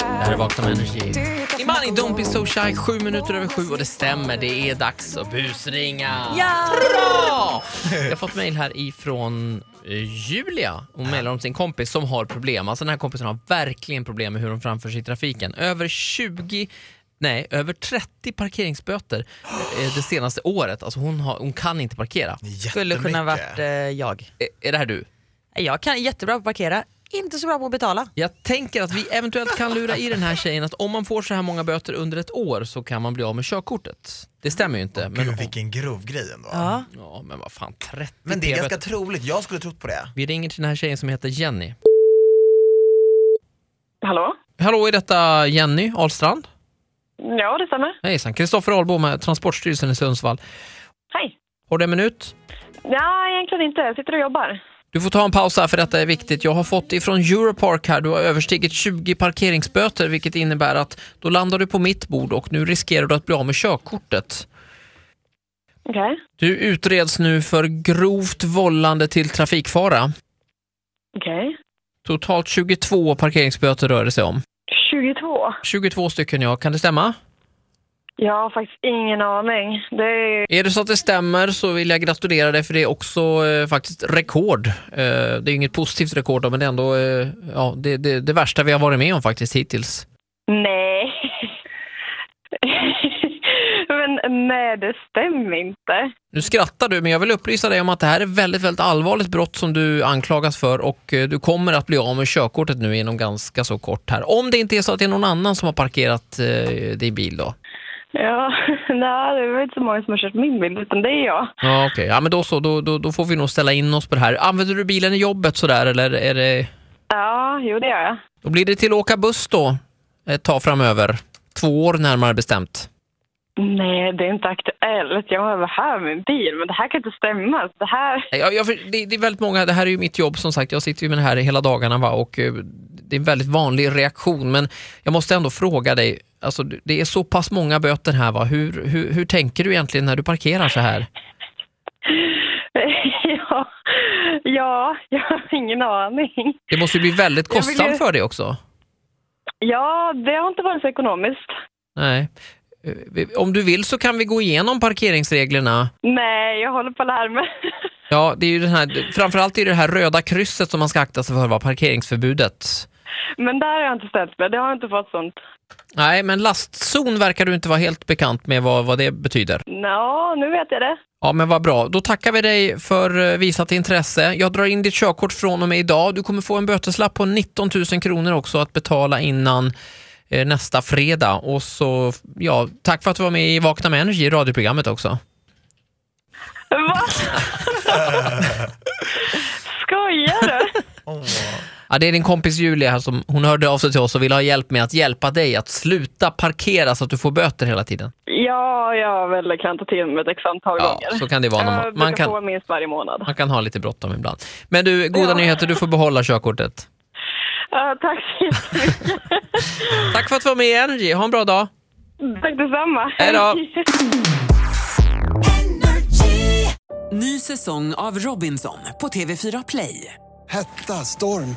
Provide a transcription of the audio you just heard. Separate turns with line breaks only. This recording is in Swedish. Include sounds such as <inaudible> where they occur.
Här är Vakna med energi. Imani Don't Be So Shy, sju minuter över sju och det stämmer, det är dags att busringa. Ja! Jag har fått mejl här ifrån eh, Julia. Hon mejlar om sin kompis som har problem. Alltså den här kompisen har verkligen problem med hur hon framför sig i trafiken. Över 20 Nej, över 30 parkeringsböter eh, det senaste året. Alltså hon, har, hon kan inte parkera.
skulle kunna varit eh, jag.
Eh, Är det här du?
Eh, Jag kan jättebra på att parkera, inte så bra på att betala.
Jag tänker att vi eventuellt kan lura i den här tjejen att om man får så här många böter under ett år så kan man bli av med körkortet. Det stämmer ju inte. men,
Gud vilken grov grej ändå.
Ja.
ja, men vad fan, 30
Men det är
p-böter.
ganska troligt, jag skulle trott på det.
Vi ringer till den här tjejen som heter Jenny.
Hallå?
Hallå, är detta Jenny Ahlstrand?
Ja, det stämmer.
Hejsan, Kristoffer Ahlbom med Transportstyrelsen i Sundsvall.
Hej.
Har du en minut?
Ja, egentligen inte. Jag sitter och jobbar.
Du får ta en paus här för detta är viktigt. Jag har fått ifrån Europark här, du har överstigit 20 parkeringsböter vilket innebär att då landar du på mitt bord och nu riskerar du att bli av med körkortet.
Okej.
Du utreds nu för grovt vållande till trafikfara.
Okej.
Totalt 22 parkeringsböter rör det sig om.
22?
22 stycken ja, kan det stämma?
Jag har faktiskt ingen aning. Det är...
Är det så att det stämmer så vill jag gratulera dig för det är också eh, faktiskt rekord. Eh, det är ju inget positivt rekord då, men det är ändå eh, ja, det, det, det värsta vi har varit med om faktiskt hittills.
Nej. <laughs> Men nej, det stämmer inte.
Nu skrattar du, men jag vill upplysa dig om att det här är väldigt, väldigt allvarligt brott som du anklagas för och eh, du kommer att bli av med körkortet nu inom ganska så kort här. Om det inte är så att det är någon annan som har parkerat eh, din bil då.
Ja, <laughs> nej, det är väl inte så många som har kört min bil, utan det är jag.
Ja, okej. Ja, men då så. Då, då, då får vi nog ställa in oss på det här. Använder du bilen i jobbet sådär eller är det...
Ja, jo, det gör jag.
Då blir det till att åka buss då ett tag framöver. Två år närmare bestämt.
Nej, det är inte aktuellt. Jag har varit här med min bil, men det här kan inte stämma. Det här... <laughs>
Nej, Jag, jag, för- det, det är väldigt många, det här är ju mitt jobb som sagt, jag sitter ju med det här hela dagarna va? och eh, det är en väldigt vanlig reaktion men jag måste ändå fråga dig, alltså, du- det är så pass många böter här va? Hur, hur, hur tänker du egentligen när du parkerar så här?
ja, ja, jag har ingen aning.
Det måste ju bli väldigt
Jag vill ju-
kostsamt för dig också.
Ja, det har inte varit så ekonomiskt.
Nej. Eh, vi- Om du vill så kan vi gå igenom parkeringsreglerna.
Nej, jag håller på att lära mig. <laughs>
Ja, det är ju den här, framförallt är det det här röda krysset som man ska akta sig för, va? parkeringsförbudet.
Men där har jag inte ställt mig. Det har jag inte fått sånt.
Nej, men lastzon verkar du inte vara helt bekant med vad, vad det betyder.
Nå, nu vet jag det.
Ja, men vad bra. Då tackar vi dig för eh, visat intresse. Jag drar in ditt körkort från och med idag. Du kommer få en böteslapp på 19 000 kronor också att betala innan eh, nästa fredag. Och så, ja, tack för att du var med i Vakna med Energy, i radioprogrammet också.
Va? <laughs> Skojar du?
Ja, det är din kompis Julia här som hon hörde av sig till oss och ville ha hjälp med att hjälpa dig att sluta parkera så att du får böter hela tiden.
Ja, jag har väl klantat till med ett antal
Ja,
gånger.
så kan det vara när man-
jag
man
brukar
kan-
få minst varje månad.
Man kan ha lite bråttom ibland. Men du, goda
Ja.
nyheter, du får behålla körkortet.
Ja, tack så jättemycket.
Tack för att du var med i Energy, ha en bra dag.
tack detsamma.
Hej då.
Ny säsong av Robinson på TV4 Play.
Hetta, storm,